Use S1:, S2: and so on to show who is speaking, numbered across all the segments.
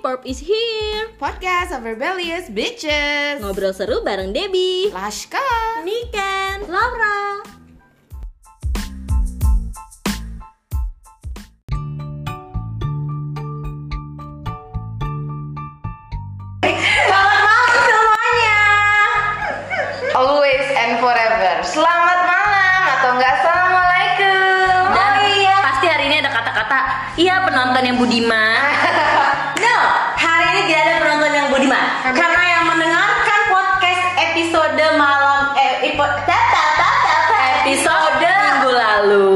S1: Pop is here
S2: Podcast of Rebellious Bitches
S1: Ngobrol seru bareng Debbie
S2: Lashka
S3: kan,
S1: Niken Laura
S2: Semuanya Always and forever Selamat malam atau enggak Assalamualaikum
S1: Dan iya. pasti hari ini ada kata-kata Iya penonton yang budiman
S3: No, hari ini tidak ada penonton yang budiman karena
S1: ya,
S3: yang mendengarkan podcast episode malam eh ipo- ta ta ta ta ta
S1: Episode minggu lalu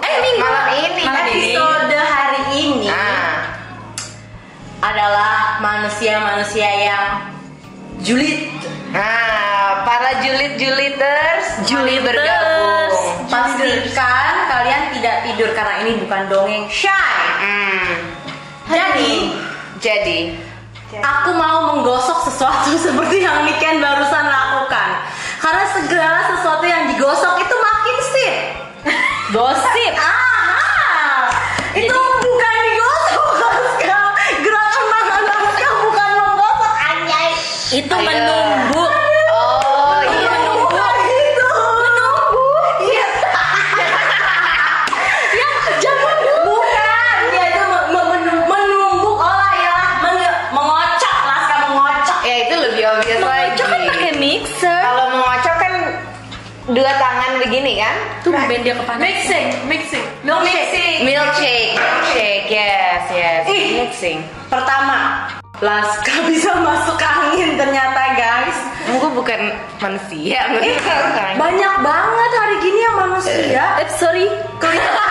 S1: Eh minggu
S2: Malam ini
S1: Malam ini
S3: episode hari ini
S2: Nah,
S3: adalah manusia-manusia yang julid
S2: nah para julid-juliders mari
S1: Juliders.
S2: bergabung
S3: pastikan kalian tidak tidur karena ini bukan dongeng shy
S2: Hmm,
S3: jadi
S2: Jadi
S3: Aku mau menggosok sesuatu seperti yang Niken barusan lakukan Karena segala sesuatu yang digosok itu makin sip
S1: Gosip
S3: Ah, itu bukan digosok Laska. Gerakan tangan Laska bukan menggosok anjay
S1: Itu
S2: Ayo.
S1: menumbuk
S2: Oh iya
S3: Bukan itu Menunggu Iya Ya, jangan dulu. Bukan, dia itu me- me- men- menumbuk olah ya Menge- Mengocok Laska mengocok
S2: Ya itu lebih obvious lagi
S1: Mengocok kan pakai mixer
S2: Kalau mengocok kan dua tangan begini kan
S1: Tuh band dia kepanasan
S3: Mixing, mixing No mixing
S2: Milkshake, milkshake, yes, yes
S3: Ih.
S2: Mixing
S3: Pertama, Laska bisa masuk angin ternyata guys.
S2: Gue bukan manusia
S3: Ih,
S2: Banyak
S3: banyak banget hari gini yang manusia.
S1: Eh sorry
S3: Kelihatan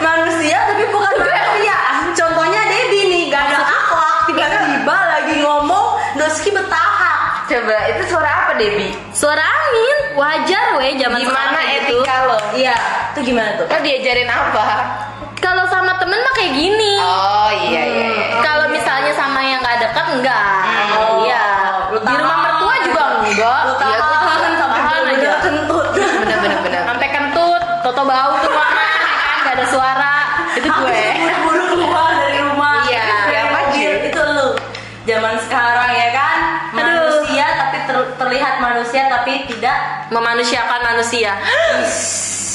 S3: manusia tapi bukan manusia. Contohnya Debbie nih, gak ada akhlak. Tiba-tiba lagi ngomong, Noski betahak.
S2: Coba, itu suara apa Debi?
S1: Suara angin Wajar weh zaman
S2: Gimana
S1: sekarang kayak gitu.
S2: etika lo?
S3: Iya, itu gimana tuh?
S2: Lo diajarin apa?
S1: Kalau sama temen mah kayak gini
S2: Oh iya iya
S3: Hmm.
S2: iya
S1: Kalau misalnya sama yang gak dekat enggak.
S2: Oh.
S1: Iya.
S3: Hmm. Lu
S1: Di rumah
S3: tahan.
S1: mertua juga enggak.
S3: Lu
S1: Iya, gua
S3: tahan sampai
S1: tahan aja.
S3: bener-bener kentut.
S2: Bener bener bener
S1: Sampai kentut, toto bau tuh mana kan gak ada suara. Itu
S3: Aku
S1: gue.
S3: tuh buru-buru keluar dari rumah.
S2: Iya,
S3: Itu yang
S2: apa
S3: mobil,
S2: sih?
S3: Itu lu. Zaman sekarang ya kan,
S1: Aduh.
S3: manusia tapi ter- terlihat manusia tapi tidak
S1: Memanusiakan manusia.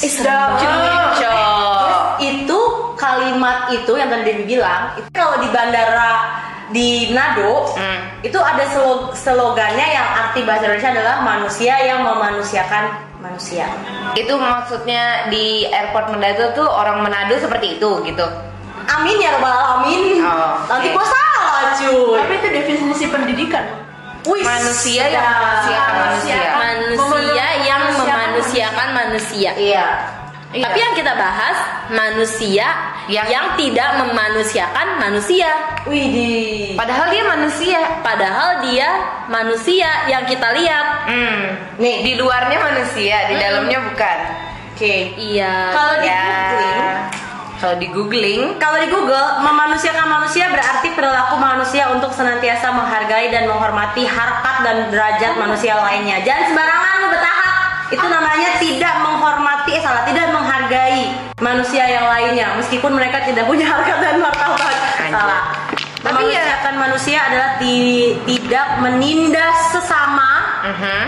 S1: Ih, serem banget.
S2: Cocok
S3: itu kalimat itu yang tadi Dewi bilang itu kalau di bandara di Nado
S2: Hmm.
S3: itu ada selo- slogannya yang arti bahasa Indonesia adalah manusia yang memanusiakan manusia
S2: Itu maksudnya di airport Manado tuh orang Manado seperti itu gitu
S3: amin ya rabbal alamin
S2: Oh,
S3: nanti
S2: oke.
S3: gua salah cuy
S4: Tapi itu definisi pendidikan.
S3: Wis, Iya.
S2: Manusia yang
S3: dah.
S2: memanusiakan manusia.
S1: Iya, Manusia yang memanusiakan manusia.
S3: iya
S2: Iya.
S1: Tapi yang kita bahas manusia yang,
S2: Yang-
S1: tidak memanusiakan manusia.
S3: Widih
S2: Padahal dia manusia
S1: Padahal dia manusia yang kita lihat.
S2: Hmm
S3: nih
S2: Di luarnya manusia, di dalamnya bukan
S3: oke
S1: Iya.
S3: kalau di
S2: Ya.
S3: Googling
S2: Kalau di googling
S3: Kalau di Google, memanusiakan manusia berarti perilaku manusia untuk senantiasa menghargai dan menghormati harkat dan derajat manusia lainnya. Jangan sembarangan lu bertahap. Itu namanya tidak menghormati, eh salah, tidak menghargai manusia yang lainnya meskipun mereka tidak punya harkat dan martabat.
S2: Anjir.
S3: Salah.
S2: Tapi ya-
S3: Memanusiakan manusia adalah ti- tidak menindas sesama
S2: Mhm.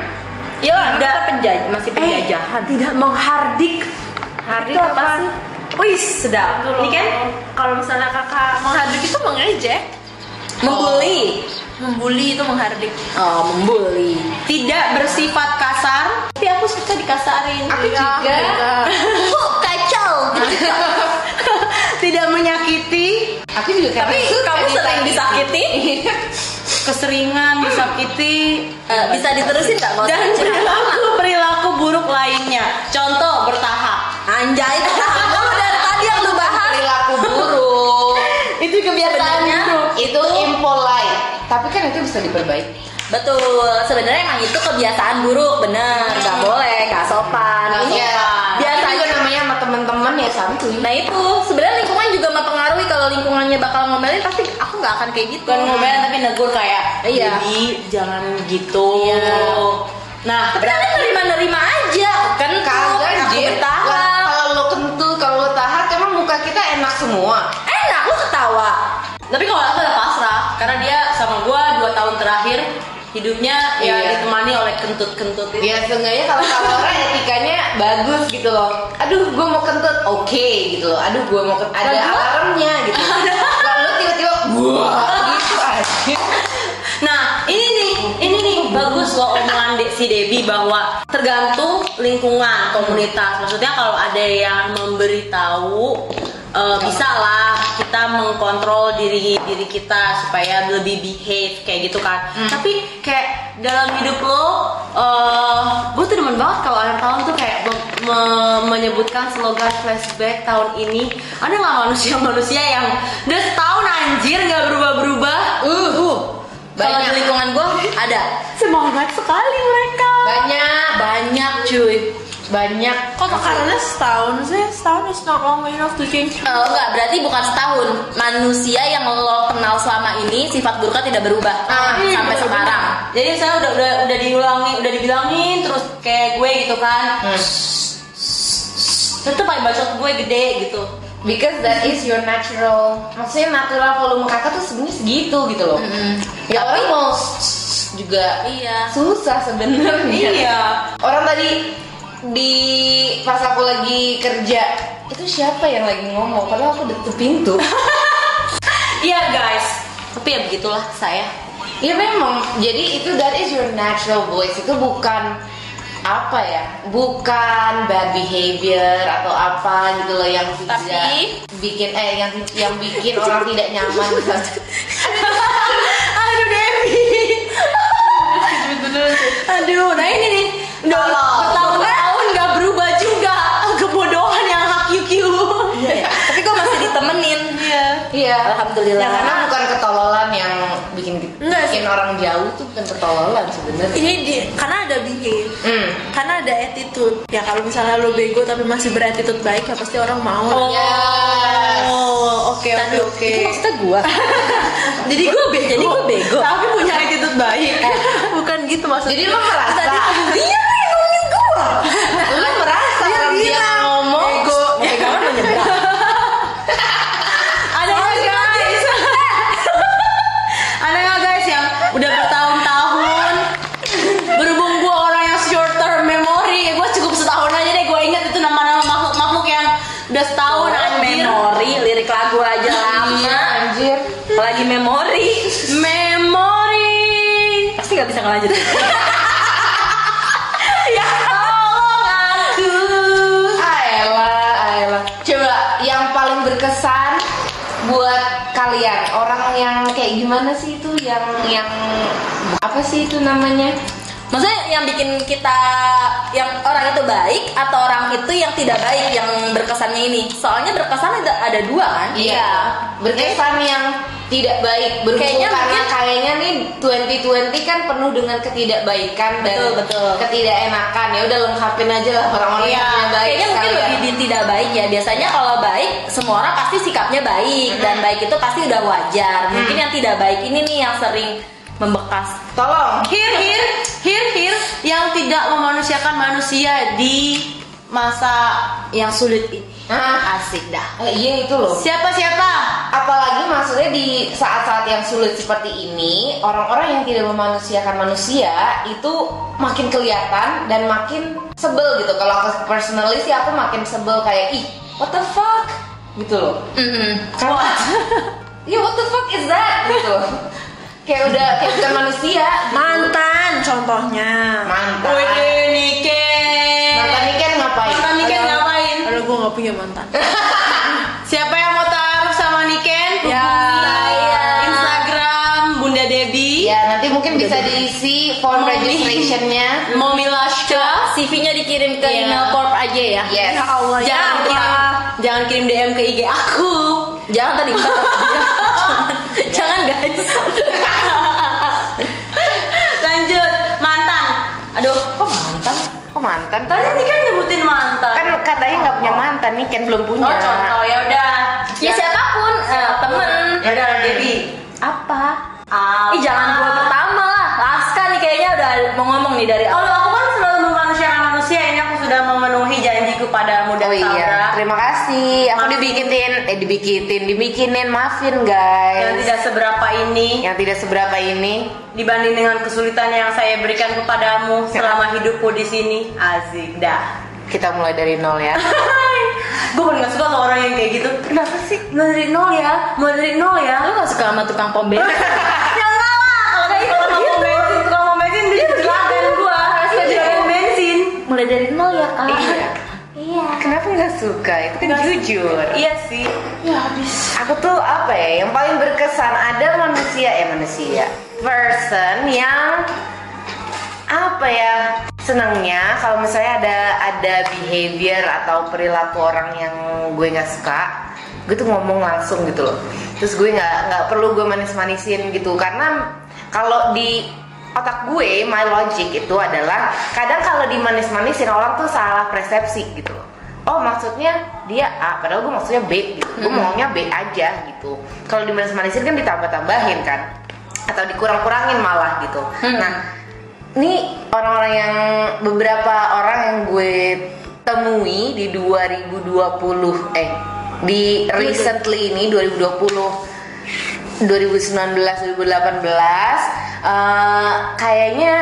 S1: Yo,
S3: Tidak.
S1: kita penjajah, masih
S4: Iya,
S1: penjajahan.
S3: eh, tidak menghardik.
S2: Hari apa sih?
S3: Wih, sedap.
S4: Dulu,
S3: Ini kan
S4: kalau misalnya kakak menghardik itu mengejek,
S1: Membuli.
S3: Oh.
S4: membuli itu menghardik.
S1: Oh, membuli.
S3: tidak bersifat kasar tapi aku suka dikasarin
S4: Aku
S3: Iya.
S4: juga.
S3: Kok kacau tidak menyakiti
S2: Aku juga
S1: Tapi kamu sering
S2: gitu.
S1: disakiti?
S3: keseringan disakiti
S1: Eh, bisa diterusin nggak mau?
S3: dan perilaku perilaku buruk lainnya contoh bertahap
S1: Anjay, itu kamu dari tadi yang lu bahas. Iya,
S2: perilaku buruk
S3: itu kebiasaan
S1: Sebenarnya
S3: buruk
S2: itu impolite tapi kan itu bisa diperbaiki
S1: Betul, sebenarnya emang itu kebiasaan buruk, bener. Gak boleh, gak sopan. Ini
S2: biasa juga
S1: biasanya.
S2: Iya. namanya sama teman-teman ya santuy
S1: Nah itu sebenarnya lingkungan juga mempengaruhi kalau lingkungannya bakal ngomelin pasti aku nggak akan kayak gitu.
S3: bukan ngomelin tapi negur kayak
S1: Iya.
S3: jadi jangan gitu
S1: Iya.
S3: nah
S1: Berarti nerima-nerima aja. Kan
S2: kagak
S1: aku
S2: Jin. Lah,
S1: bertahan.
S2: kalau lo kentut kalau lo tahak emang muka kita enak semua
S1: Enak lu ketawa.
S4: tapi kalau aku udah pasrah karena dia sama gua dua tahun terakhir hidupnya ya
S2: Iya.
S4: ditemani oleh kentut-kentut itu
S2: Ya seenggaknya kalau sama orang etikanya bagus gitu loh. Aduh, gue mau kentut, oke gitu loh. Aduh, gue mau kentut, ada
S4: Dan gua-
S2: alarmnya gitu. Kalau lu tiba-tiba, wah gitu aja.
S4: Nah, ini nih, ini nih bagus loh omongan De- si Debi bahwa tergantung lingkungan komunitas. Maksudnya kalau ada yang memberitahu eh, bisa lah kita mengkontrol diri diri kita supaya lebih behave kayak gitu kan. Tapi kayak dalam hidup lo, eh, gue tuh demen banget kalau akhir tahun tuh kayak mem- me- menyebutkan slogan flashback tahun ini. Ada nggak manusia-manusia yang udah setahun anjir nggak berubah-berubah? Uh,
S3: Kalau di
S2: Banyak.
S3: lingkungan gue ada
S4: Semangat sekali mereka. Nah,
S2: Banyak,
S3: banyak cuy.
S2: banyak.
S5: Kok karena setahun sih? Setahun is not long enough to change.
S3: Kalau enggak berarti bukan setahun. Manusia yang lo kenal selama ini sifat buruknya tidak berubah
S2: Ah,
S3: sampai
S2: bener-bener.
S3: sekarang.
S4: Jadi misalnya udah udah udah diulang nih, udah dibilangin terus kayak gue gitu kan.
S2: Hmm.
S4: Tetep aja bacot gue gede gitu.
S2: Because that is your natural. Maksudnya natural volume kakak tuh sebenarnya segitu gitu loh. Ya orang mau juga
S3: Iya.
S2: susah sebenarnya.
S4: Iya.
S2: Orang tadi di pas aku lagi kerja itu siapa yang lagi ngomong? Padahal aku deket pintu.
S4: Iya guys. Tapi ya begitulah saya.
S2: Iya memang. Jadi itu that is your natural voice. Itu bukan apa ya? Bukan bad behavior atau apa gitu loh yang tidak
S5: Tapi-
S2: bikin eh yang yang bikin orang tidak nyaman. gitu.
S4: Aduh Devi. Aduh, nah ini nih. Udah bertahun-tahun gak berubah juga kebodohan yang hak kiu Iya.
S3: Tapi gue masih ditemenin.
S2: Iya.
S3: Alhamdulillah.
S2: Ya, karena bukan ketololan yang bikin
S5: Enggak
S2: bikin orang jauh tuh bukan ketololan sebenarnya.
S5: Ini di- karena ada behave,
S2: Hmm.
S5: karena ada attitude. Ya kalau misalnya lo bego tapi masih berattitude baik ya pasti orang
S2: Oh.
S5: mau.
S3: Iya.
S2: Yes.
S4: Oh, oke oke oke.
S3: Maksudnya gue.
S4: Jadi gue bego, jadi gue bego. Oh. Tapi punya attitude baik.
S5: Bukan gitu maksudnya.
S2: Jadi lo merasa,
S3: Iya, nih, ngomongin gue.
S2: lo merasa orang dia ngomong.
S3: Iya, Ego. Mau pegangan mau nyebrang.
S4: Ada nggak guys? Ada nggak guys yang udah bertahun-tahun berhubung gue orang yang short term memory, gue cukup setahun aja deh gue inget itu nama-nama makhluk-makhluk yang udah setahun anjir.
S3: Memori, Oh, lirik lagu aja
S2: Iya,
S3: lama.
S2: anjir.
S3: Apalagi memori.
S4: Memory.
S3: Pasti nggak bisa ngelanjutin.
S4: Ya tolong aku.
S2: Ayolah, ayolah. Coba yang paling berkesan buat kalian orang yang kayak gimana sih itu yang yang apa sih itu namanya?
S3: Maksudnya yang bikin kita yang orang itu baik atau orang itu yang tidak baik yang berkesannya ini. Soalnya berkesan ada, ada dua kan?
S2: Iya.
S4: Iya.
S2: Berkesan yang tidak baik berhubung
S3: Eh. Kayaknya
S2: karena
S3: mungkin-
S2: kayaknya nih 2020 kan penuh dengan ketidakbaikan dan
S3: Betul, betul. Iya.
S2: ketidakenakan ya udah lengkapin aja lah orang-orang
S4: Ya,
S2: yang tidak baik
S3: Kayaknya mungkin
S2: sekalian.
S3: lebih di tidak baik ya. Biasanya kalau baik semua orang pasti sikapnya baik dan baik itu pasti udah wajar. Mungkin yang tidak baik ini nih yang sering membekas.
S2: tolong
S4: Hir hir hir hir yang tidak memanusiakan manusia di masa yang sulit ini.
S2: Ah.
S4: Asik dah.
S2: Eh, iya itu loh
S4: Siapa siapa?
S2: apalagi maksudnya di saat-saat yang sulit seperti ini orang-orang yang tidak memanusiakan manusia itu makin kelihatan dan makin sebel gitu kalau aku personally sih aku makin sebel kayak ih what the fuck gitu loh karena ya what the fuck is that gitu loh kayak udah kayak bukan manusia
S5: Mantan contohnya.
S2: mantan
S4: Wih Niken.
S2: mantan ini kan ngapain
S4: Mantan Niken ngapain?
S5: Kalau gue nggak punya mantan.
S4: Siapa yang mau taruh sama Niken?
S3: Ya,
S4: Hubungi
S3: ya.
S4: Instagram Bunda Debi.
S2: ya nanti mungkin bisa diisi form
S4: Mami.
S2: registrationnya
S4: Mommy Lashka.
S3: CV-nya dikirim ke
S4: Iya.
S3: email corp aja ya.
S2: yes
S5: Ya Allah ya.
S4: Jangan
S5: Allah.
S4: kirim, jangan kirim DM ke IG aku.
S3: Jangan tadi. jangan, jangan guys.
S4: Lanjut mantan. Aduh, kok mantan?
S2: oh mantan
S4: Tadi
S3: kan
S4: Niken nyebutin mantan.
S2: kan katanya nggak punya mantan nih kan belum punya
S4: Oh contoh ya udah.
S3: Ya siapapun eh, temen.
S4: Ya udah Debi.
S3: Apa?
S4: Apa?
S3: Ih jangan gua pertama lah. Laska nih kayaknya udah mau ngomong nih dari awal.
S4: Kalau aku kan selalu memanusiakan manusia ini aku sudah memenuhi janjiku kepada mudah
S2: Oh iya,
S4: tabrak
S2: terima kasih. Aku
S4: Maafin.
S2: dibikinin, eh dibikitin, dibikinin maafin
S4: yang
S2: guys.
S4: tidak seberapa ini
S2: Yang tidak seberapa ini.
S4: dibanding dengan kesulitan yang saya berikan kepadamu selama hidupku di sini azik dah
S2: Kita mulai dari nol ya.
S4: gue paling gak suka sama orang yang kayak gitu kenapa sih mulai dari nol ya mulai dari nol ya
S3: Lu gak suka sama tukang Iya, pom bensin?
S4: ya enggak lah kalau kayak gitu tukang pom bensin tukang pom bensin dia juragan gue juragan bensin
S3: Iya. Mulai dari nol ya kak?
S2: Iya. Kenapa nggak suka? Itu kan jujur.
S4: iya sih
S6: ya habis
S2: Aku tuh apa ya? Yang paling berkesan ada manusia ya manusia. Person yang apa ya senangnya kalau misalnya ada ada behavior atau perilaku orang yang gue nggak suka gue tuh ngomong langsung gitu loh terus gue nggak nggak perlu gue manis-manisin gitu karena kalau di otak gue my logic itu adalah kadang kalau dimanis-manisin orang tuh salah persepsi gitu loh oh maksudnya dia A padahal gue maksudnya B gitu gue maunya B aja gitu kalau dimanis-manisin kan ditambah-tambahin kan atau dikurang-kurangin malah gitu nah ini orang-orang yang beberapa orang yang gue temui di 2020 eh di recently ini 2020 2019 2018 eh, kayaknya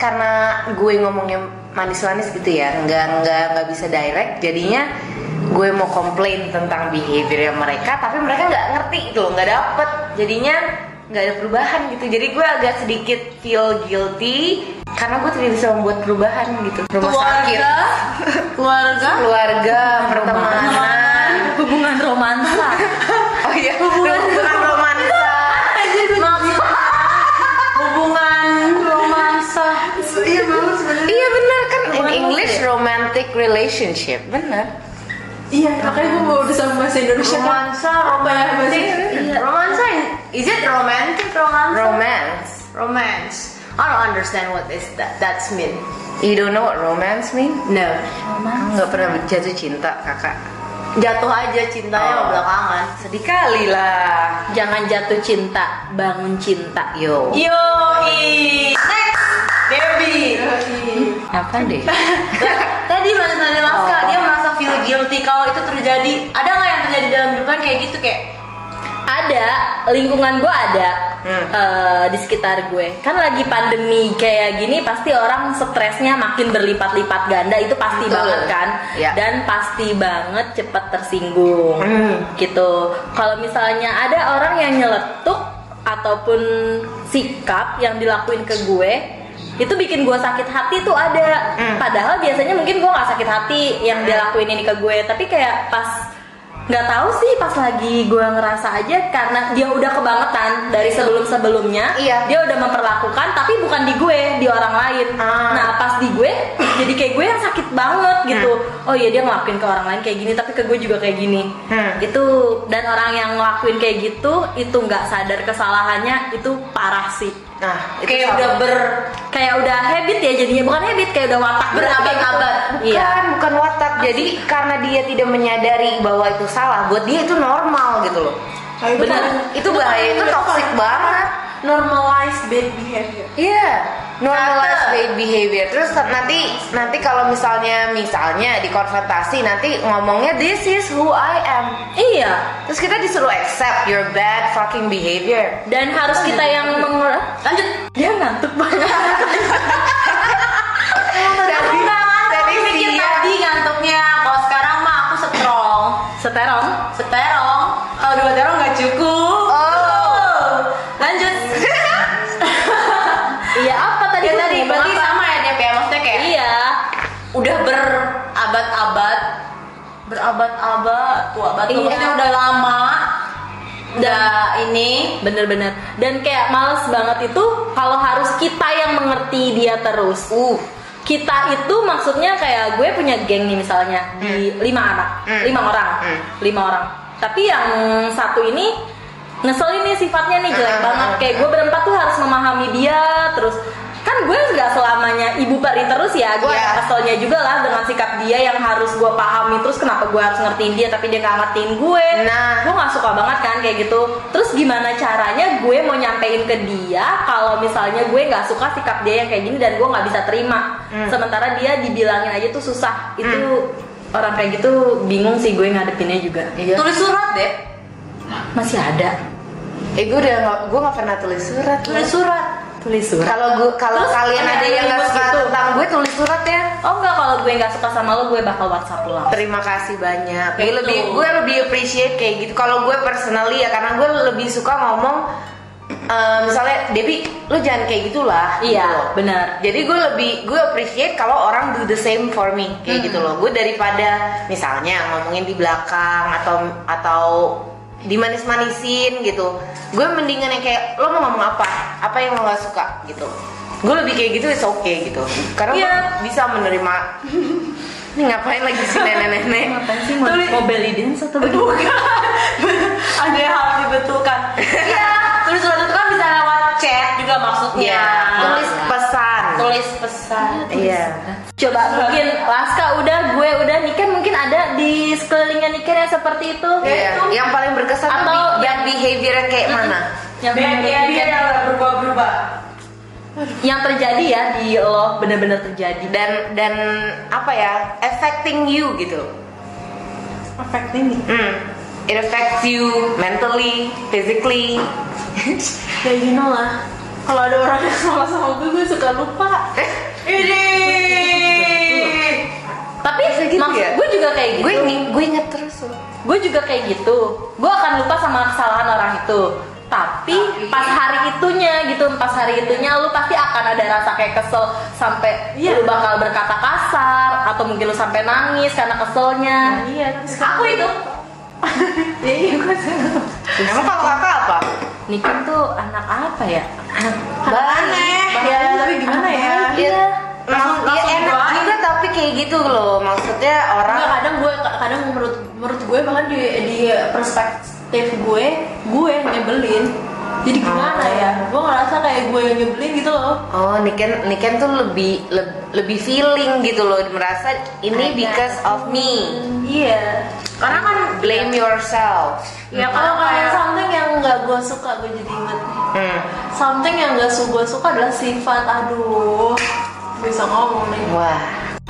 S2: karena gue ngomongnya manis-manis gitu ya nggak nggak nggak bisa direct jadinya gue mau komplain tentang behavior mereka tapi mereka nggak ngerti gitu loh nggak dapet jadinya nggak ada perubahan gitu jadi gue agak sedikit feel guilty karena gue tidak bisa membuat perubahan gitu rumah sakit
S6: keluarga keluarga
S2: keluarga pertemanan
S3: Hubungan romansa
S2: oh iya hubungan romansa
S4: hubungan romansa
S6: iya bagus sebenarnya
S2: iya benar kan in
S3: Hubungan
S2: English romantic relationship benar
S6: iya makanya gue mau udah sama bahasa Indonesia kan
S4: romansa
S6: apa ya bahasa
S4: romantic romansa is it romantic romansa
S2: romance
S4: romance I don't understand what is that that's mean
S2: you don't know what romance mean
S4: no
S3: Nah,
S2: nggak pernah jatuh cinta kakak
S4: jatuh aja cintanya
S2: Oh.
S4: belakangan
S2: sedih kali lah
S3: Jangan jatuh cinta, bangun cinta
S2: yo
S4: yo next Debbie
S2: apa deh
S4: tadi mas Nadia Laska dia merasa feel guilty kalau itu terjadi ada nggak yang terjadi dalam hidupan kayak gitu kayak
S3: ada lingkungan gue ada
S2: Hmm.
S3: eh, di sekitar gue kan lagi pandemi kayak gini pasti orang stresnya makin berlipat-lipat ganda itu pasti
S2: Betul.
S3: banget kan
S2: Ya.
S3: dan pasti banget cepet tersinggung
S4: Hmm.
S3: gitu kalau misalnya ada orang yang nyeletuk ataupun sikap yang dilakuin ke gue itu bikin gue sakit hati tuh ada
S2: Hmm.
S3: padahal biasanya mungkin gue nggak sakit hati yang dilakuin ini ke gue tapi kayak pas nggak tahu sih pas lagi gue ngerasa aja karena dia udah kebangetan dari sebelum sebelumnya
S2: Iya.
S3: dia udah memperlakukan tapi bukan di gue di orang lain
S2: Ah.
S3: nah pas di gue jadi kayak gue yang sakit banget gitu oh iya dia ngelakuin ke orang lain kayak gini tapi ke gue juga kayak gini
S2: Hmm.
S3: itu dan orang yang ngelakuin kayak gitu itu nggak sadar kesalahannya itu parah sih
S2: nah itu
S4: kayak
S2: sama.
S4: udah ber
S3: kayak udah habit ya jadinya bukan habit kayak udah watak
S4: Berabad-abad.
S3: iya
S2: Bukan, bukan watak. Jadi karena dia tidak menyadari bahwa itu salah, buat dia itu normal gitu loh.
S6: Kayak itu
S4: Nah, kan
S2: Bener,
S6: paling-
S2: itu bahaya, itu
S6: paling-
S2: toxic banget.
S6: normalize bad behavior
S2: Iya, normalized bad behavior. Terus nanti nanti kalau misalnya misalnya di konfrontasi nanti ngomongnya this is who I am.
S3: iya
S2: Terus kita disuruh accept your bad fucking behavior.
S3: dan harus kita yang mengelola lanjut dia ngantuk banget
S2: Jadi,
S3: Iya,
S2: jadi
S4: mikir
S3: ya.
S2: dia
S4: tadi ngantuknya kalau sekarang mah aku setrong
S3: seterong
S4: seterong kalau dua terong nggak cukup
S2: Oh.
S4: lanjut
S3: iya apa tadi
S4: ya
S3: gua
S4: tadi
S3: ngomong
S4: berarti
S3: apa?
S4: sama ya Dep ya maksudnya kayak
S3: iya
S4: udah berabad-abad berabad-abad tuh abad tuh
S3: Iya.
S4: maksudnya udah lama udah ini
S3: bener-bener dan kayak males banget itu kalau harus kita yang mengerti dia terus
S2: uh
S3: kita itu maksudnya kayak gue punya geng nih misalnya di lima anak
S2: Hmm.
S3: lima orang
S2: Hmm.
S3: lima orang tapi yang satu ini ngeselin nih sifatnya nih jelek
S2: Hmm.
S3: banget kayak gue berempat tuh harus memahami dia terus kan gue nggak selamanya ibu peri terus ya gue
S2: Iya.
S3: ada keselnya juga lah dengan sikap dia yang harus gue pahami terus kenapa gue harus ngertiin dia tapi dia nggak ngertiin gue
S2: Nah.
S3: gue nggak suka banget kan kayak gitu terus gimana caranya gue mau nyampein ke dia kalau misalnya gue nggak suka Hmm. sikap dia yang kayak gini dan gue nggak bisa terima sementara dia dibilangin aja tuh susah itu
S1: orang kayak gitu bingung sih gue ngadepinnya juga
S2: Iya.
S3: Hmm. Tulis surat deh.
S1: masih ada
S2: Eh gue udah gak, gue gak pernah tulis surat.
S3: Tulis
S2: Mas.
S3: surat.
S1: tulis surat
S2: Kalau gue kalau
S1: Terus
S2: kalian ada yang nggak
S1: anonymous
S2: suka
S1: gitu.
S2: tentang gue tulis surat ya.
S1: oh enggak kalau gue nggak suka sama lo gue bakal whatsapp lo
S2: Terima kasih banyak. Gue
S1: Kayak
S2: lebih
S1: gitu.
S2: gue lebih appreciate kayak gitu. Kalau gue personally ya karena gue lebih suka ngomong eh, misalnya Debi lu jangan kayak gitulah. gitu loh.
S1: iya benar
S2: Jadi gue lebih gue appreciate kalau orang do the same for me
S1: Hmm.
S2: kayak gitu loh. Gue daripada misalnya ngomongin di belakang atau atau dimanis-manisin gitu. Gue mendingan yang kayak lo mau ngomong apa? Apa yang lo gak suka gitu. Gue lebih kayak gitu it's okay gitu. Karena
S1: Iya.
S2: gue bisa menerima ini ngapain lagi sih nenek-nenek?
S1: ngapain sih mau,
S3: Tulis-
S1: mau belly dance atau bagaimana?
S3: ada yang harus dibetulkan. Iya. Tulis surat itu kan bisa lewat chat juga maksudnya.
S2: Iya, tulis
S1: Nah.
S2: pesan.
S3: Tulis pesan.
S2: Iya.
S1: Coba mungkin Laska udah, gue udah, Niken mungkin ada di sekelilingnya Niken yang seperti itu.
S2: Iya.
S1: Itu.
S2: Yang paling berkesan
S1: Atau
S2: tuh bi- yang
S1: yang-
S2: behavior kayak mana?
S1: Yang,
S3: Biar dia yang berubah-berubah.
S1: yang terjadi ya di lo bener-bener terjadi.
S2: Dan dan apa ya? Affecting you gitu.
S3: Perfect ini.
S2: Hmm. It affects you mentally, physically.
S4: Ya gino lah. Kalau ada orang yang salah sama gue, gue suka lupa.
S2: Eh,
S3: Ini.
S1: Tapi
S2: gitu
S1: maksud
S2: ya?
S1: gue juga kayak gitu.
S2: gue inget, gue inget terus loh.
S1: Gue juga kayak gitu. Gue akan lupa sama kesalahan orang itu. Tapi, pas hari itunya gitu, pas hari itunya lu pasti akan ada rasa kayak kesel sampai lu
S2: Iya.
S1: bakal berkata kasar atau mungkin lu sampai nangis karena keselnya.
S4: Iya, terus
S1: Aku itu
S2: Emang kalau kata apa?
S1: Niken tuh anak apa ya?
S2: Aneh.
S4: Ya, tapi gimana ya?
S2: Iya.
S3: Langsung-
S2: Iya
S3: langsung
S2: enak
S3: doain.
S2: juga tapi kayak gitu loh. Maksudnya orang
S4: Enggak, kadang gue kadang menurut menurut gue bahkan di di perspektif gue gue yang nyebelin jadi gimana
S2: Oh.
S4: ya gue ngerasa kayak gue yang nyebelin gitu loh
S2: Oh, Niken Niken tuh lebih leb- lebih feeling gitu loh, merasa ini because of me.
S4: iya
S3: Karena kan
S2: Blame yourself.
S4: ya kalau kayak something yang nggak gue suka gue jadi inget
S2: Hmm.
S4: something yang nggak su gue suka adalah sifat aduh bisa ngomong nih
S2: Wah.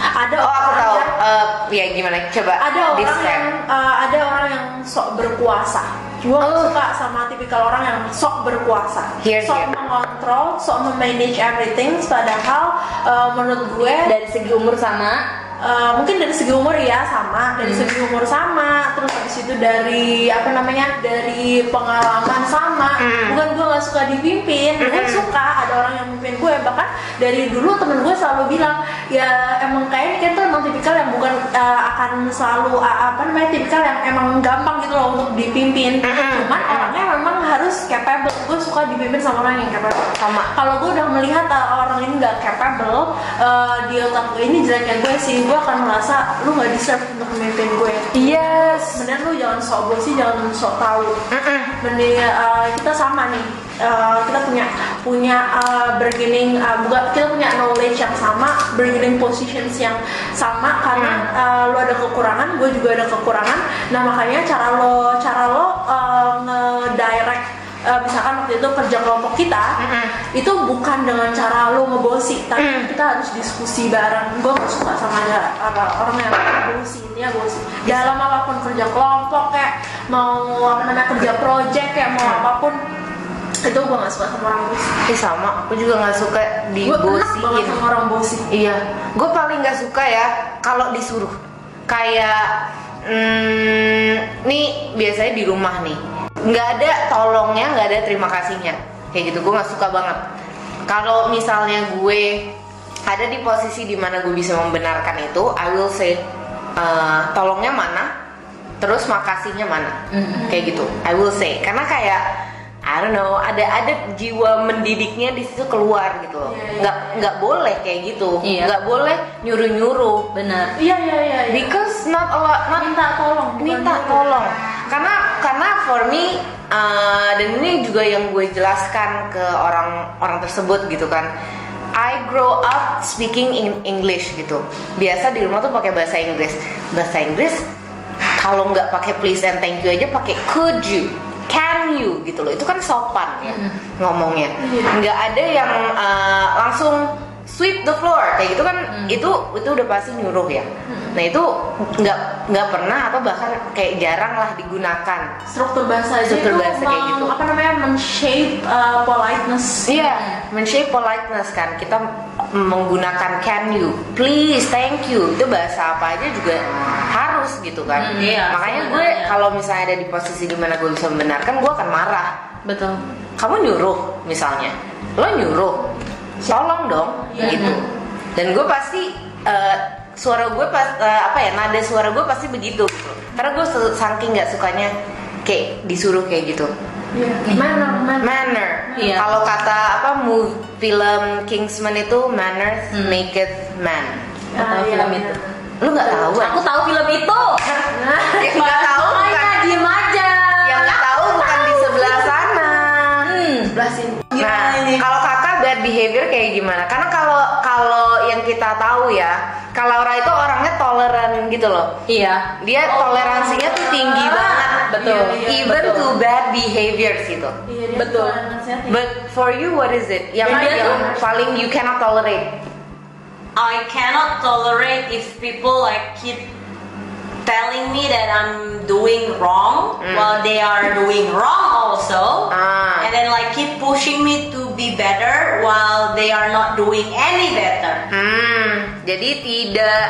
S4: ada
S2: Oh, aku
S4: orang
S2: tahu.
S4: yang-
S2: Eh, ya gimana? Coba
S4: ada orang
S2: describe.
S4: yang uh, ada orang yang sok berkuasa gue suka sama tipikal orang yang sok berkuasa
S2: Oh. Here,
S4: sok
S2: here.
S4: mengontrol sok memanage everything padahal uh, menurut gue
S1: Dari segi umur sama.
S4: uh, mungkin dari segi umur ya sama dari segi umur sama terus habis itu dari apa namanya dari pengalaman sama
S2: Hmm.
S4: bukan gue nggak suka dipimpin gue suka ada orang yang mimpin gue bahkan dari dulu temen gue selalu bilang ya emang kayaknya kita tuh emang tipikal yang bukan uh, akan selalu uh, apa namanya tipikal yang emang gampang gitu loh untuk dipimpin cuman orangnya memang harus capable gue suka dipimpin sama orang yang capable
S2: Sama.
S4: kalau gue udah melihat uh, orang ini nggak capable uh, di otak gue ini jeleknya gue sih gue akan merasa lu nggak deserve untuk memimpin gue
S1: Yes.
S4: sebenarnya lu jangan sok gue sih jangan sok tahu mending uh, kita sama nih Uh, kita punya punya uh, bargaining uh, bukan kita punya knowledge yang sama bargaining positions yang sama karena uh, lu ada kekurangan gue juga ada kekurangan nah makanya cara lo cara lo uh, ngedirect uh, misalkan waktu itu kerja kelompok kita itu bukan dengan cara lo ngebosi tapi
S2: Mm.
S4: kita harus diskusi bareng gue gak suka sama ada ada orang yang ngebosi ini ya ngebosi dalam apapun kerja kelompok kayak mau apa namanya kerja project kayak
S2: Mm.
S4: mau apapun itu gue gak suka sama orang bosi
S2: Eh, sama. Aku juga nggak suka
S4: gue enak banget
S2: dibosiin.
S4: sama orang bosi
S2: Iya, gue paling nggak suka ya kalau disuruh. Kayak, hmm, nih biasanya di rumah nih, nggak ada tolongnya, nggak ada terima kasihnya, kayak gitu. Gue nggak suka banget. Kalau misalnya gue ada di posisi dimana gue bisa membenarkan itu, I will say, eh, tolongnya mana, terus makasihnya mana
S4: Mm-hmm.
S2: kayak gitu I will say karena kayak I don't know ada ada jiwa mendidiknya di situ keluar gitu loh
S4: Iya, iya.
S2: nggak nggak boleh kayak gitu
S1: Iya.
S2: nggak boleh nyuruh nyuruh
S1: Benar.
S4: iya iya iya iya.
S2: because not a lot not
S4: minta tolong Iya, bukan
S2: minta
S4: nyuruh.
S2: tolong karena karena for me uh, dan ini juga yang gue jelaskan ke orang orang tersebut gitu kan I grow up speaking in English gitu biasa di rumah tuh pakai bahasa Inggris bahasa Inggris kalau nggak pakai please and thank you aja pakai could you can you gitu loh itu kan sopan ya ngomongnya nggak ada yang uh, ah, langsung sweep the floor kayak gitu kan
S1: Hmm.
S2: itu itu udah pasti nyuruh ya nah itu nggak nggak pernah atau bahkan kayak jarang lah digunakan
S4: struktur bahasa aja
S2: Struktur
S4: itu
S2: bahasa kayak
S4: meng-
S2: gitu.
S4: apa namanya men-shape uh, politeness
S2: Iya,
S1: Hmm.
S2: men-shape politeness kan kita menggunakan can you, please, thank you itu bahasa apa aja juga harus gitu kan.
S1: Hmm, iya,
S2: Makanya gue
S1: sebenarnya.
S2: kalau misalnya ada di posisi dimana gue bisa membenarkan, gue akan marah.
S1: betul
S2: Kamu nyuruh misalnya, lo nyuruh, tolong dong
S4: Iya.
S2: gitu. Dan gue pasti eh, suara gue pas eh, apa ya nada suara gue pasti begitu. gitu. Karena gue se- saking nggak sukanya kayak disuruh kayak gitu
S4: Iya, manner manner
S2: manner.
S1: Iya.
S2: Kalau kata apa mu- film Kingsman itu manners make it man.
S1: Atau
S4: Ah, iya,
S1: film itu.
S4: bener.
S2: Lu nggak tahu?
S1: aku
S2: Aku
S1: tahu film itu
S2: yang nggak tahu
S3: Oh
S2: bukan
S1: makanya diem aja
S2: yang nggak tahu bukan di sebelah sana.
S1: hmm.
S4: sebelah sini
S2: Nah, kalau kakak bad behavior kayak gimana? Karena kalau kalau yang kita tahu ya, kalau Laura itu orangnya toleran gitu loh.
S1: iya
S2: Dia toleransinya tuh tinggi banget,
S1: betul.
S4: Iya, iya,
S2: even
S1: betul.
S2: to bad behaviors gitu.
S4: Iya, dia
S1: Betul.
S4: tuh anaknya tinggi.
S2: But for you what is it? Yang,
S1: Yang dia
S2: yang
S1: tuh-
S2: paling you cannot tolerate?
S3: I cannot tolerate if people like keep telling me that I'm doing wrong
S2: Mm.
S3: while they are doing wrong also.
S2: Ah.
S3: And then like keep pushing me to be better while they are not doing any better.
S2: Hmm, jadi tidak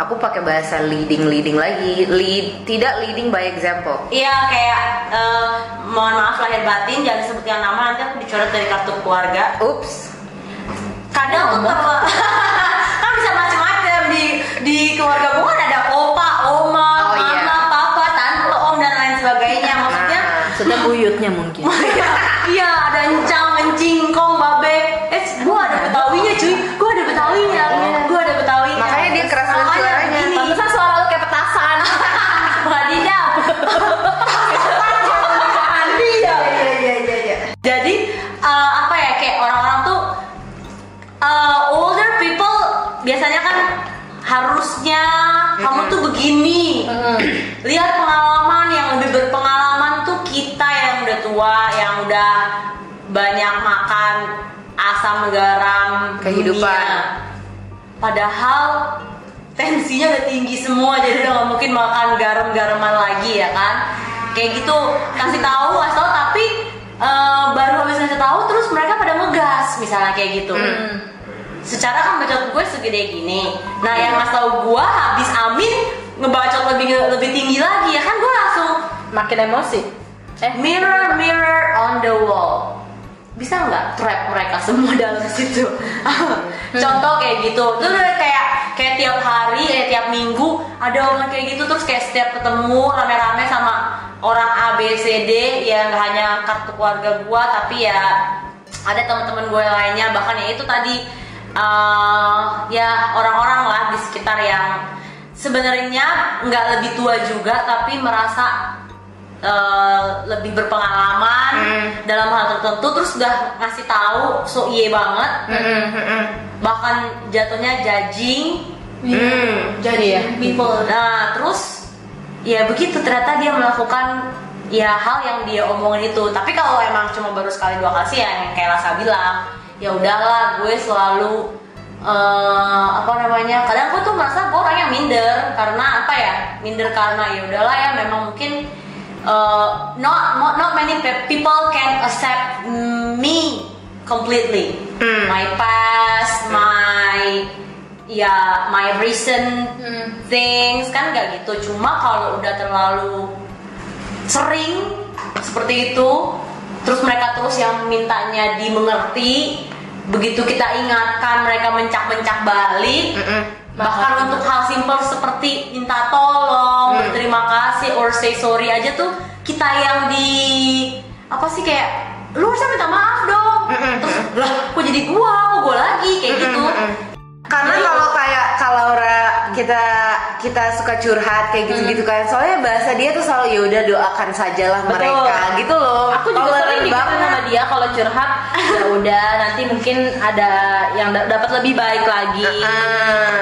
S2: aku pakai bahasa leading leading lagi. Lead tidak leading by example.
S3: Iya kayak eh, mohon maaf lahir batin jangan disebutkan nama nanti aku dicoret dari kartu keluarga.
S2: Oops.
S3: kadang tuh terlalu kan bisa macam-macam di di keluarga gue kan ada opa, oma,
S2: Oh,
S3: mama,
S2: iya.
S3: papa, tante, om dan lain sebagainya. Maksudnya
S1: sudah buyutnya mungkin
S3: iya ada encang, encing, kong, babe. Eh, gue ada betawinya cuy, gue ada betawinya, gue ada betawinya.
S2: Makanya dia keras banget
S3: Makanya
S2: suaranya.
S3: begini.
S1: pantesan suara lu kayak petasan
S3: Bukan tidak. Bukan tidak.
S4: iya iya iya iya
S3: Jadi eh, apa ya kayak orang-orang tuh eh, older people biasanya kan harusnya kamu tuh begini. Lihat pengalaman yang lebih berpengalaman tuh kita yang udah tua, yang udah banyak makan asam garam
S2: Kehidupan.
S3: dunia. Padahal tensinya udah tinggi semua jadi udah nggak mungkin makan garam-garaman lagi ya kan. Kayak gitu kasih tahu, kasih tahu tapi eh, baru habis ngasih tahu terus mereka pada ngegas misalnya kayak gitu. Secara kan bacot gue segede gini. Nah, yang ngasih tahu gue habis Amin ngebacot lebih lebih tinggi lagi ya kan gue langsung
S1: makin emosi eh
S3: mirror mirror on the wall bisa nggak trap mereka semua dalam situ contoh kayak gitu itu udah kayak kayak tiap hari eh, tiap minggu ada orang kayak gitu terus kayak setiap ketemu rame-rame sama orang A B C D ya nggak hanya kartu keluarga gua tapi ya ada teman-teman gue lainnya bahkan ya itu tadi eh, ya orang-orang lah di sekitar yang sebenarnya nggak lebih tua juga tapi merasa eh, lebih berpengalaman dalam hal tertentu terus udah ngasih tahu so iye banget
S2: Hmm.
S3: bahkan jatuhnya judging
S2: Hmm.
S4: jadi
S1: Iya.
S4: people
S3: nah terus ya begitu ternyata dia melakukan ya hal yang dia omongin itu tapi kalau emang cuma baru sekali dua kali sih ya, yang kayak Lasa bilang ya udahlah gue selalu eh, apa namanya kadang gue tuh merasa gue orang yang minder karena apa ya minder karena ya udahlah ya memang mungkin eh, not not not many pe- people can accept mm, me completely
S2: Hmm.
S3: my past my ya my recent things kan nggak gitu cuma kalau udah terlalu sering seperti itu terus mereka terus yang mintanya dimengerti begitu kita ingatkan mereka mencak-mencak balik
S2: Mm-mm.
S3: bahkan untuk hal simpel seperti minta tolong berterima kasih or say sorry aja tuh kita yang di apa sih kayak lu harusnya minta maaf dong terus lah kok jadi gua kok gua lagi kayak
S2: Hmm.
S3: gitu
S2: Karena
S3: Jadi-
S2: kalau kayak kalau Laura kita kita suka curhat kayak gitu-gitu kan. Soalnya bahasa dia tuh selalu ya udah doakan sajalah
S1: Mm. Betul.
S2: mereka gitu loh.
S1: aku juga
S2: Toleran
S1: sering dibilang sama
S2: "Ah,
S1: dia kalau curhat ya udah nanti mungkin ada yang da- dapat lebih baik lagi
S2: Ah.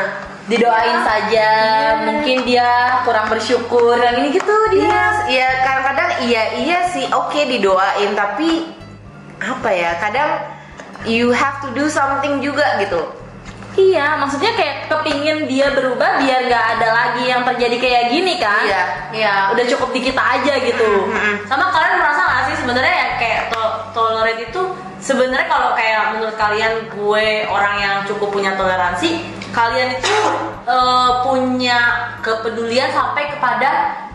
S1: didoain saja mungkin dia kurang bersyukur yang ini gitu
S2: Iya,
S1: dia
S2: ya kadang-kadang iya iya sih oke didoain tapi apa ya kadang you have to do something juga gitu
S1: Iya, maksudnya kayak kepingin dia berubah biar nggak ada lagi yang terjadi kayak gini kan?
S2: Iya.
S1: Iya. Udah cukup di kita aja gitu.
S3: Sama kalian merasa nggak sih sebenarnya ya kayak to- tolerate itu sebenarnya kalau kayak menurut kalian gue orang yang cukup punya toleransi, kalian itu eh, punya kepedulian sampai kepada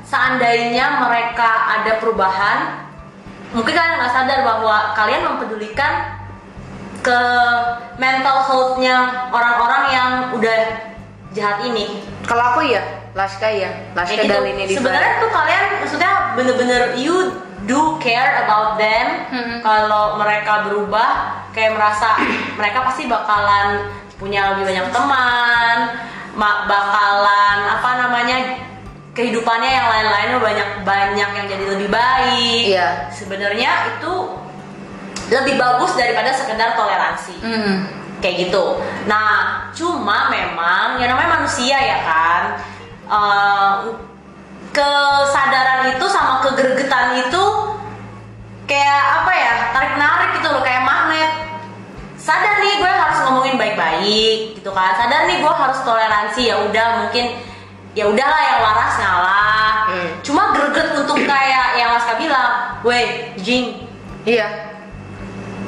S3: seandainya mereka ada perubahan, mungkin kalian nggak sadar bahwa kalian mempedulikan ke mental health-nya orang-orang yang udah jahat ini
S2: kalau aku ya Laska ya Laska
S3: Kayak gitu.
S2: Dalini di
S3: Sebenarnya tuh kalian maksudnya bener-bener you do care about them. Kalau mereka berubah, kayak merasa mereka pasti bakalan punya lebih banyak teman, ma- bakalan apa namanya kehidupannya yang lain-lainnya banyak banyak yang jadi lebih baik.
S2: Iya.
S3: Sebenarnya itu lebih bagus daripada sekedar toleransi
S1: Hmm.
S3: kayak gitu. Nah, cuma memang yang namanya manusia ya kan, eh, kesadaran itu sama kegergetan itu kayak apa ya tarik narik gitu loh kayak magnet. Sadar nih gue harus ngomongin baik-baik gitu kan. Sadar nih gue harus toleransi ya udah mungkin ya udahlah yang waras ngalah.
S2: Hmm.
S3: Cuma greget untuk kayak yang Mas bilang, weh Jing,
S2: iya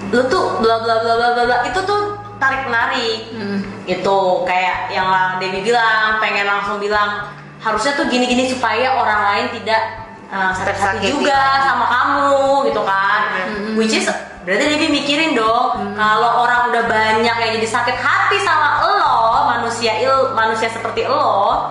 S3: lu tuh bla bla bla bla bla bla itu tuh tarik menarik gitu kayak yang Debbie bilang pengen langsung bilang harusnya tuh gini gini supaya orang lain tidak uh, sakit hati
S2: Tersakiti
S3: juga sama kamu gitu kan which is berarti Debbie mikirin dong kalau orang udah banyak yang jadi sakit hati sama lo manusia il manusia seperti lo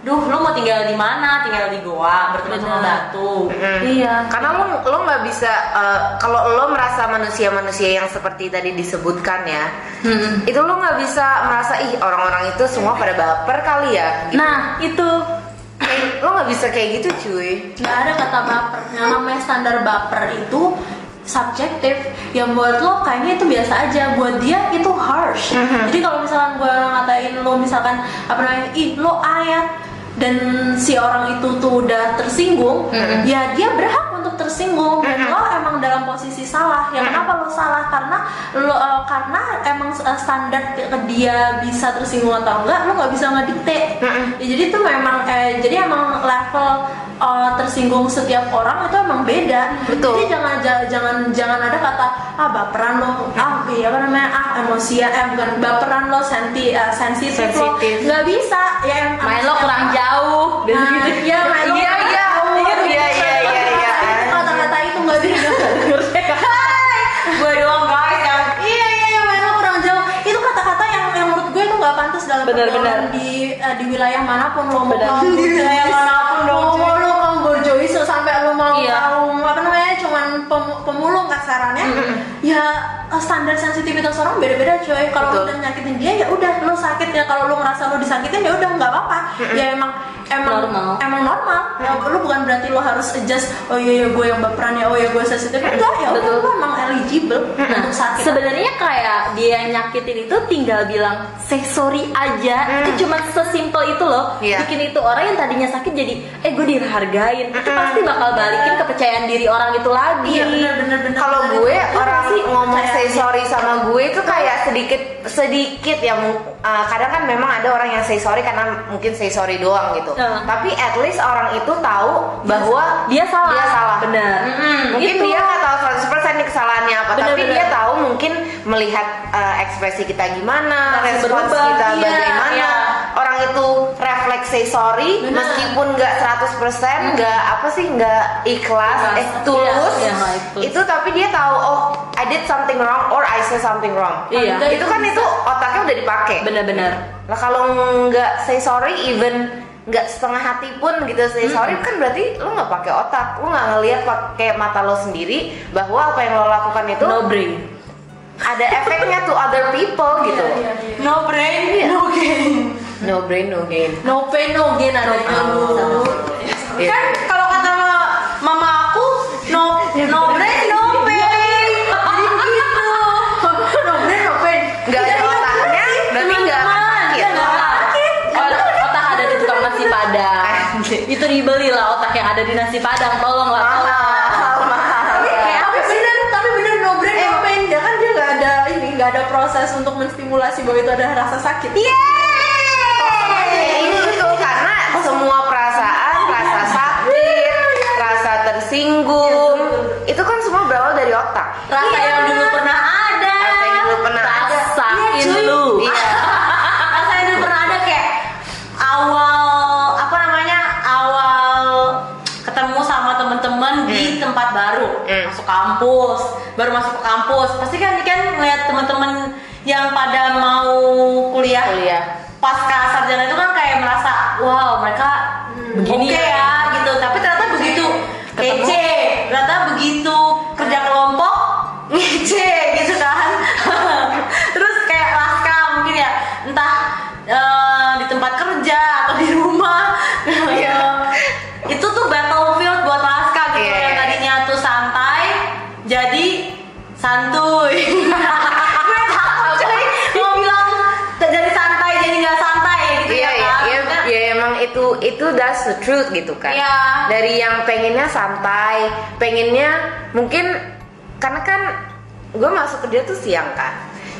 S3: duh lo mau tinggal di mana tinggal di goa berteman sama batu
S1: Iya.
S2: karena lo lo nggak bisa eh, kalau lo merasa manusia manusia yang seperti tadi disebutkan ya itu lo nggak bisa merasa ih orang-orang itu semua pada baper kali ya gitu.
S1: Nah, itu
S2: Kayak- lo nggak bisa kayak gitu cuy
S4: nggak ada kata baper yang namanya standar baper itu subjektif yang buat lo kayaknya itu biasa aja buat dia itu harsh jadi kalau misalkan gue ngatain lo misalkan apa namanya ih lo ayat dan si orang itu tuh udah tersinggung ya dia berhak untuk tersinggung Dan lo emang dalam posisi salah ya kenapa lo salah karena lo eh, karena emang eh, standar ke dia bisa tersinggung atau enggak lo nggak bisa ngedikte ya, jadi itu memang eh, jadi emang level uh, tersinggung setiap orang itu emang beda.
S2: Betul.
S4: Jadi jangan ja- jangan jangan ada kata ah baperan lo, ah iya apa namanya ah emosi eh bukan baperan lo senti eh, sensitif, lo
S2: Sensitif.
S4: nggak bisa ya yang
S1: main lo kurang jauh.
S4: Nah, iya, main lo
S2: Iya,
S4: kurang
S2: iya.
S4: jauh.
S2: Iya, iya, iya, iya, iya.
S4: Itu Kata-kata itu nggak bisa.
S3: gue doang guys yang
S4: Iya iya iya, main lo kurang jauh. Itu kata-kata yang yang menurut gue itu nggak pantas dalam
S1: Benar,
S4: pergaulan
S1: benar.
S4: di eh, di wilayah manapun lo mau
S1: Benar.
S4: kaum
S3: Di wilayah manapun dong,
S4: mau mau
S3: cuy.
S4: lo kaum bourgeois sampai lo mau
S1: Iya.
S4: kaum apa namanya cuman pem- pemulung kasarannya ya eh, standar sensitivitas orang beda-beda coy kalau
S2: Betul.
S4: udah nyakitin dia ya udah lo sakit ya kalau lo ngerasa lo disakitin ya udah nggak apa-apa ya emang emang
S1: Normal.
S4: emang normal Ya, lo bukan berarti lo harus adjust oh iya iya gue yang baperan ya oh iya gue sensitif enggak ya udah
S1: Betul.
S4: lo emang eligible untuk sakit
S1: Nah, Sebenarnya kayak dia yang nyakitin itu tinggal bilang "Say sorry aja. Itu cuma sesimpel itu loh.
S2: Hmm. Iya.
S1: Bikin itu orang yang tadinya sakit jadi eh gue dihargain. Itu
S2: Hmm.
S1: pasti bakal balikin kepercayaan diri orang itu lagi.
S4: Iya benar-benar benar.
S2: kalau gue
S1: Itu
S2: orang
S1: pasti
S2: ngomong
S1: kayak- gitu.
S2: say
S4: iya,
S2: sorry sama gue itu kayak sedikit sedikit ya mu- uh, kadang kan memang ada orang yang say sorry karena mungkin say sorry doang gitu
S1: Heeh.
S2: tapi at least orang itu tahu bahwa
S1: Dia salah.
S2: dia salah
S1: Benar.
S2: Mm-mm. mungkin
S1: Itu.
S2: dia nggak tahu 100% nih kesalahannya apa
S1: Benar,
S2: tapi
S1: benar.
S2: dia tahu mungkin melihat uh, ekspresi kita gimana
S1: Langsung
S2: respons
S1: berubah.
S2: kita
S1: Iya,
S2: bagaimana
S1: iya.
S2: orang itu refleks say sorry
S4: Benar.
S2: meskipun nggak 100% nggak apa sih nggak ikhlas
S1: Ikhlas.
S2: eh tulus
S1: Iya, iya, nggak ikhlas.
S2: itu tapi dia tahu oh I did something wrong or I said something wrong
S1: Iya.
S2: Nah, itu kan itu otaknya udah dipakai
S1: Benar-benar.
S2: lah kalau nggak say sorry even nggak setengah hati pun gitu say sorry kan berarti lu nggak pakai otak lu nggak ngelihat pakai mata lo sendiri bahwa apa yang lo lakukan itu
S1: No bring.
S2: ada efeknya to other people gitu
S4: Iya, iya.
S3: no brain no game
S2: no brain no gain
S4: No pain no gain adanya
S2: Ah.
S4: lu.
S2: Iya.
S3: kan kalau kata ma- mama aku no
S2: Iya,
S3: no brain no pain
S4: No pain no pain.
S2: nggak ada otaknya berarti nggak gitu. akan sakit
S1: Otak, otak ada di tukang nasi padang. itu dibelilah otak yang ada di nasi padang. Tolonglah. tolong.
S2: mahal mahal
S4: Tapi kayak apa sih? Bener, tapi bener no brain no pain. Ya kan dia nggak ada ini nggak ada proses untuk menstimulasi bahwa itu ada rasa sakit.
S2: Iya. Ini betul Iya, gitu. karena semua perasaan, rasa sakit, rasa tersinggung, itu kan semua berawal dari otak.
S1: Rasa yang dulu
S3: Iya.
S1: pernah ada.
S2: Rasa yang dulu pernah ada.
S1: Rasain lu.
S3: Iya.
S2: Iya,
S3: Rasa itu pernah ada kayak awal apa namanya awal ketemu sama temen-temen di tempat baru
S2: Hmm.
S3: masuk kampus baru masuk ke kampus pasti kan kan ngeliat temen-temen yang pada mau kuliah
S2: Kuliah.
S3: pasca sarjana itu kan kayak merasa wow mereka
S1: Begini
S3: oke
S1: ya."
S3: ya gitu tapi ternyata begitu
S1: Ketemu.
S3: kece ternyata begitu kerja kelompok ngece gitu kan terus kayak laska mungkin ya entah eh, di tempat kerja atau di rumah
S2: Iya.
S3: Ya, itu tuh battlefield buat laska gitu
S2: Iya.
S3: yang tadinya tuh santai jadi santuy gue tahu cuy mau bilang jadi santai jadi nggak santai gitu
S2: Iya,
S3: ya
S2: iya,
S3: kan
S2: iya,
S3: Maksudnya-
S2: iya, emang itu itu that's the truth gitu kan.
S3: Iya.
S2: Dari yang pengennya santai, pengennya mungkin karena kan gue masuk kerja tuh siang kan.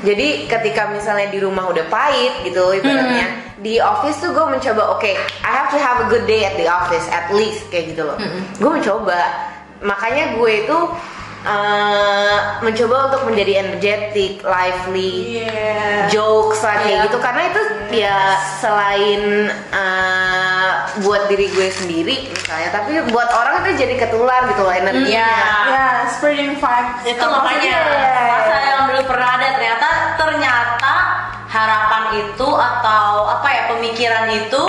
S2: Jadi ketika misalnya di rumah udah pahit gitu ibaratnya,
S3: Mm-hmm.
S2: di office tuh gue mencoba oke, I have to have a good day at the office at least kayak gitu loh.
S3: Mm-hmm.
S2: Gue mencoba, makanya gue itu eh, mencoba untuk menjadi energetic, lively,
S4: Iya.
S2: jokes lah kayak gitu karena itu ya selain uh, buat diri gue sendiri misalnya tapi buat orang itu jadi ketular gitu loh energinya
S3: Iya.
S4: Ya, spreading vibes.
S3: itu makanya
S4: Iya.
S3: masa yang dulu pernah ada ternyata ternyata harapan itu atau apa ya pemikiran itu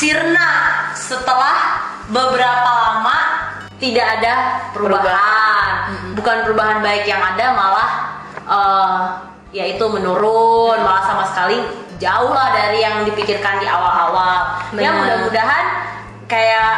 S3: sirna setelah beberapa lama tidak ada perubahan, bukan perubahan baik yang ada malah yaitu menurun malah sama sekali jauh lah dari yang dipikirkan di awal-awal ya
S1: Benar.
S3: mudah-mudahan kayak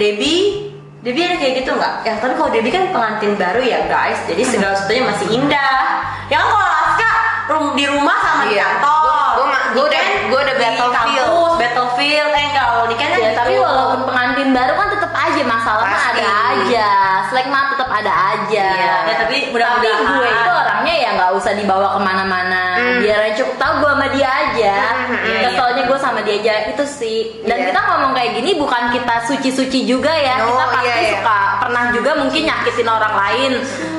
S3: Debbie Debbie ada kayak gitu nggak? Ya tapi kalau Debbie kan pengantin baru ya guys, jadi segala sesuatunya masih indah. Ya kan kalau Alaska rum- di rumah sama di
S2: Iya.
S3: kantor.
S2: Gua- gua ma- gua udah-
S3: Weekend
S2: gua udah
S3: di
S2: battlefield.
S3: kampus, battlefield, eh enggak kalau nikah
S1: Ya,
S3: kan gitu.
S1: tapi walaupun pengantin baru kan tetap aja masalah mah
S2: Pasti.
S1: ada aja, selek mah tetap ada aja.
S3: Iya, ya, tapi
S1: Tapi
S3: mudah-mudahan. Hmm.
S1: gue itu orangnya ya nggak usah dibawa kemana-mana, biar aja cukup tahu gue sama dia aja.
S3: iya,
S1: Keselnya gue sama dia aja itu sih. Dan
S2: Iya.
S1: kita ngomong kayak gini bukan kita suci-suci juga ya.
S2: No,
S1: kita pasti
S2: iya, iya.
S1: suka pernah juga mungkin nyakitin orang lain,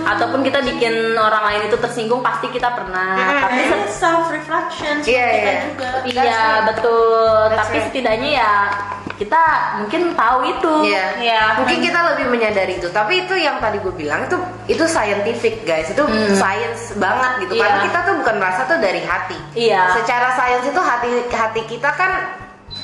S1: ataupun kita bikin orang lain itu tersinggung pasti kita pernah.
S3: Hmm,
S1: Tapi
S4: Ini
S1: se-
S4: self reflection
S2: Iya,
S4: Iya, kita
S2: iya.
S4: juga.
S1: Iya betul,
S2: That's
S1: tapi
S2: right.
S1: setidaknya ya kita mungkin tahu itu.
S2: Iya.
S3: Iya.
S2: mungkin kita lebih menyadari itu tapi itu yang tadi gue bilang itu itu scientific guys itu science banget
S1: Hmm.
S2: gitu
S1: Iya.
S2: karena kita tuh bukan merasa tuh dari hati
S1: Iya.
S2: secara science itu hati hati kita kan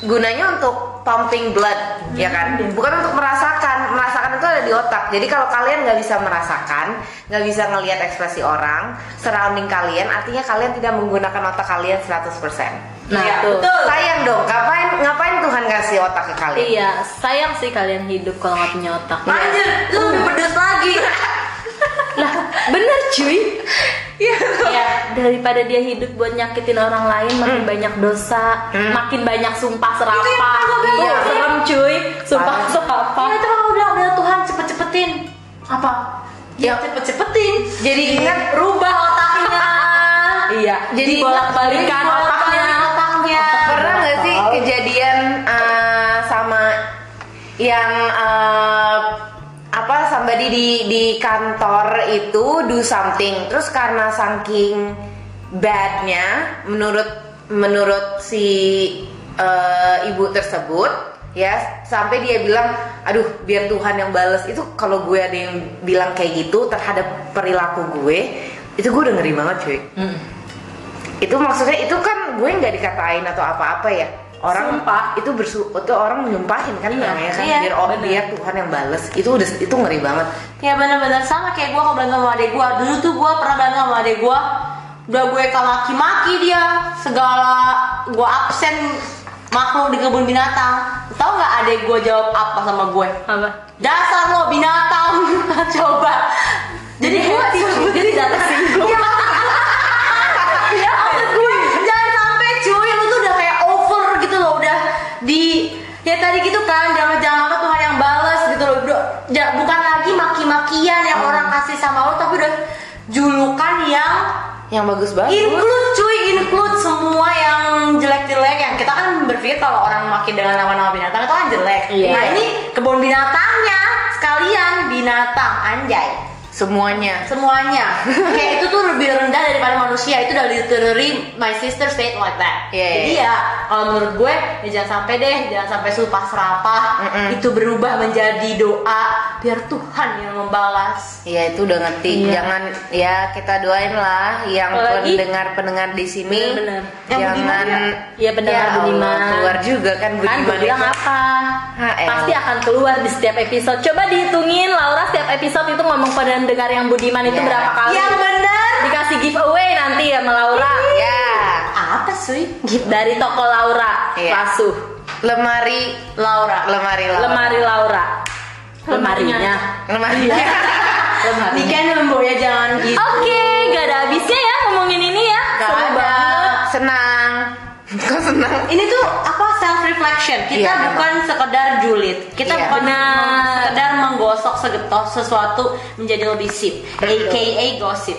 S2: gunanya untuk pumping blood ya kan
S1: Hmm.
S2: bukan untuk merasakan merasakan itu ada di otak jadi kalau kalian nggak bisa merasakan nggak bisa ngelihat ekspresi orang surrounding kalian artinya kalian tidak menggunakan otak kalian 100%
S1: Nah,
S3: Iya,
S1: tuh.
S3: betul.
S2: sayang dong ngapain ngapain Tuhan kasih otak ke kalian
S1: Iya, sayang sih kalian hidup kalau nggak punya otak.
S3: Lanjut, itu lebih pedes lagi.
S1: lah, bener cuy. Iya, daripada dia hidup buat nyakitin orang lain, makin
S3: Hmm.
S1: banyak dosa, makin banyak sumpah serapah. Iya, serem cuy, sumpah
S2: Parah.
S1: serapah.
S3: Iya itu mah udah udah Tuhan cepet-cepetin.
S4: Apa?
S3: Ya cepet-cepetin.
S2: jadi ingat
S3: Rubah otaknya.
S1: Iya, jadi
S2: Jadi
S1: bolak-balikan otaknya.
S3: Bolak-balik otaknya.
S2: pernah nggak sih kejadian eh, sama yang eh, apa somebody di di kantor itu do something terus karena saking badnya menurut menurut si eh, ibu tersebut ya sampai dia bilang aduh biar Tuhan yang bales itu kalau gue ada yang bilang kayak gitu terhadap perilaku gue itu gue udah ngeri banget cuy
S1: Hmm.
S2: itu maksudnya itu kan gue nggak dikatain atau apa-apa ya orang
S1: Sumpah.
S2: itu bersu itu orang nyumpahin kan
S1: Iya,
S2: namanya kan
S3: iya,
S2: biar oh,
S1: bener.
S2: biar Tuhan yang bales itu udah itu ngeri banget
S3: Ya benar-benar sama kayak gue kalau berantem sama adek gue. Dulu tuh gue pernah berantem sama adek gue. Udah gue maki-maki dia. Segala gue absen makhluk di kebun binatang. Tahu nggak adek gue jawab apa sama gue?
S1: Apa?
S3: Dasar lo binatang. Coba. Jadi gue disebut jadi datang singgung.
S1: Iya,
S3: Ya maksud gue jangan sampai cuy lu tuh udah kayak over gitu loh udah di ya tadi gitu kan jangan jangan apa Tuhan yang balas gitu loh Udah- ja- bukan lagi maki-makian yang orang kasih sama lo tapi udah julukan yang
S2: yang
S1: Iya.
S2: bagus-bagus.
S3: Include cuy, include semua yang jelek-jelek yang kita kan berpikir kalau orang makin dengan nama-nama binatang itu kan jelek.
S2: Iya.
S3: Nah ini kebun binatangnya sekalian binatang anjay
S2: Semuanya.
S3: semuanya kayak itu tuh lebih rendah daripada manusia itu dari literally my sister said like that
S2: Iya,
S3: jadi
S2: iya.
S3: ya kalau menurut gue ya jangan sampai deh jangan sampai sumpah serapah
S2: Mm-mm.
S3: itu berubah menjadi doa biar Tuhan yang membalas
S2: Ya itu udah ngerti. Jangan ya kita doain lah yang
S1: Iya. Apalagi-
S2: pendengar-pendengar di sini
S1: Bener-bener.
S3: Yang
S2: jangan
S1: budiman ya? Iya, benar,
S2: Allah,
S1: budiman.
S2: keluar juga kan
S1: kan
S2: budiman
S1: gue bilang
S2: itu.
S1: apa
S2: HL.
S1: pasti akan keluar di setiap episode coba dihitungin Laura setiap episode itu ngomong pada dengar yang budiman itu
S2: Ya.
S1: berapa kali
S3: yang bener
S1: dikasih giveaway nanti ya sama Laura
S2: Ya
S3: apa sih
S1: dari toko Laura
S2: Iya.
S1: Lasuh
S2: lemari
S1: Laura
S2: lemari lah.
S1: lemari Laura lemarinya
S2: lemari.
S1: Iya. lemari
S3: Niken Lembo ya jangan gitu
S1: oke gak ada habisnya ya ngomongin ini ya
S3: Gak
S1: Seru
S3: ada.
S1: banget.
S2: senang. Kok senang?
S3: ini tuh apa self reflection kita
S2: Iya,
S3: bukan sekedar julid kita
S2: Iya.
S3: bukan
S1: Benar.
S3: sekedar menggosok segetok sesuatu menjadi lebih sip aka gosip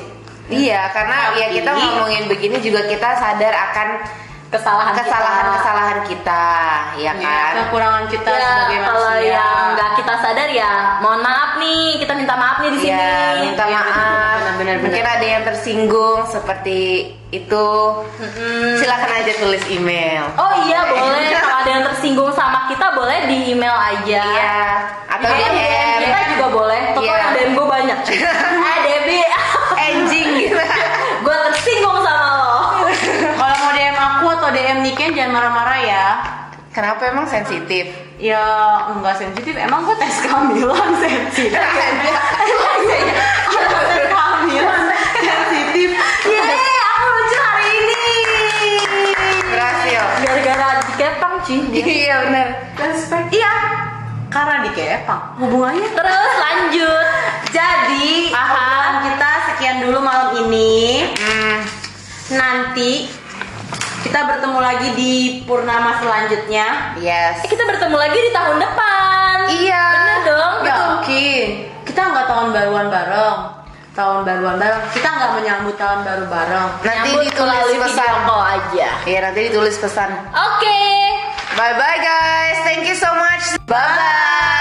S2: Iya, karena ya
S3: Tapi-
S2: kita ngomongin begini juga kita sadar akan
S1: kesalahan kita. Iya,
S2: kesalahan-kesalahan kita, ya kan?
S3: kekurangan kita
S1: Ya,
S3: sebagai
S1: kalau
S3: manusia
S1: yang nggak kita sadar ya mohon maaf nih kita minta maaf nih di sini
S2: Iya, minta
S1: kan?
S3: Iya, benar,
S2: maaf.
S3: benar, benar, benar.
S2: Mungkin ada yang tersinggung seperti itu. Silahkan aja tulis email.
S1: Oh iya boleh kalau ada yang tersinggung sama kita boleh di email aja.
S2: Iya, atau
S1: Atau DM
S3: iya,
S2: DM.
S1: iya, kita juga boleh. Toko
S2: Iya.
S1: yang DM gue banyak. cuy. eh Debi,
S2: Anjing gitu.
S1: gue tersinggung sama lo.
S3: kalau mau DM aku atau DM Niken jangan marah-marah ya
S2: Kenapa emang sensitif?
S3: ya enggak sensitif emang gue tes kehamilan sensitif
S1: Iya,
S3: Aku tes kehamilan sensitif
S1: Yeay, Iya, aku lucu hari ini.
S2: Berhasil.
S1: Gara-gara dikepang cuy. dia.
S2: Iya benar.
S4: Respect.
S3: iya karena dikepang hubungannya
S1: Terus lanjut.
S3: Jadi,
S1: Aha.
S3: obrolan kita sekian dulu malam ini.
S2: Hmm,
S3: Nanti kita bertemu lagi di purnama selanjutnya.
S1: Eh,
S2: yes.
S1: Kita bertemu lagi di tahun depan.
S2: Iya.
S1: Bener dong.
S2: Nggak
S3: Iya.
S2: mungkin.
S3: Kita nggak tahun baruan bareng, tahun baruan bareng. Kita nggak menyambut tahun baru bareng.
S2: Nanti
S1: Nyambut
S2: ditulis
S1: melalui
S2: pesan.
S1: video call aja.
S2: Iya, nanti ditulis pesan.
S1: Oke.
S2: Bye bye guys. Thank you so much. Bye bye.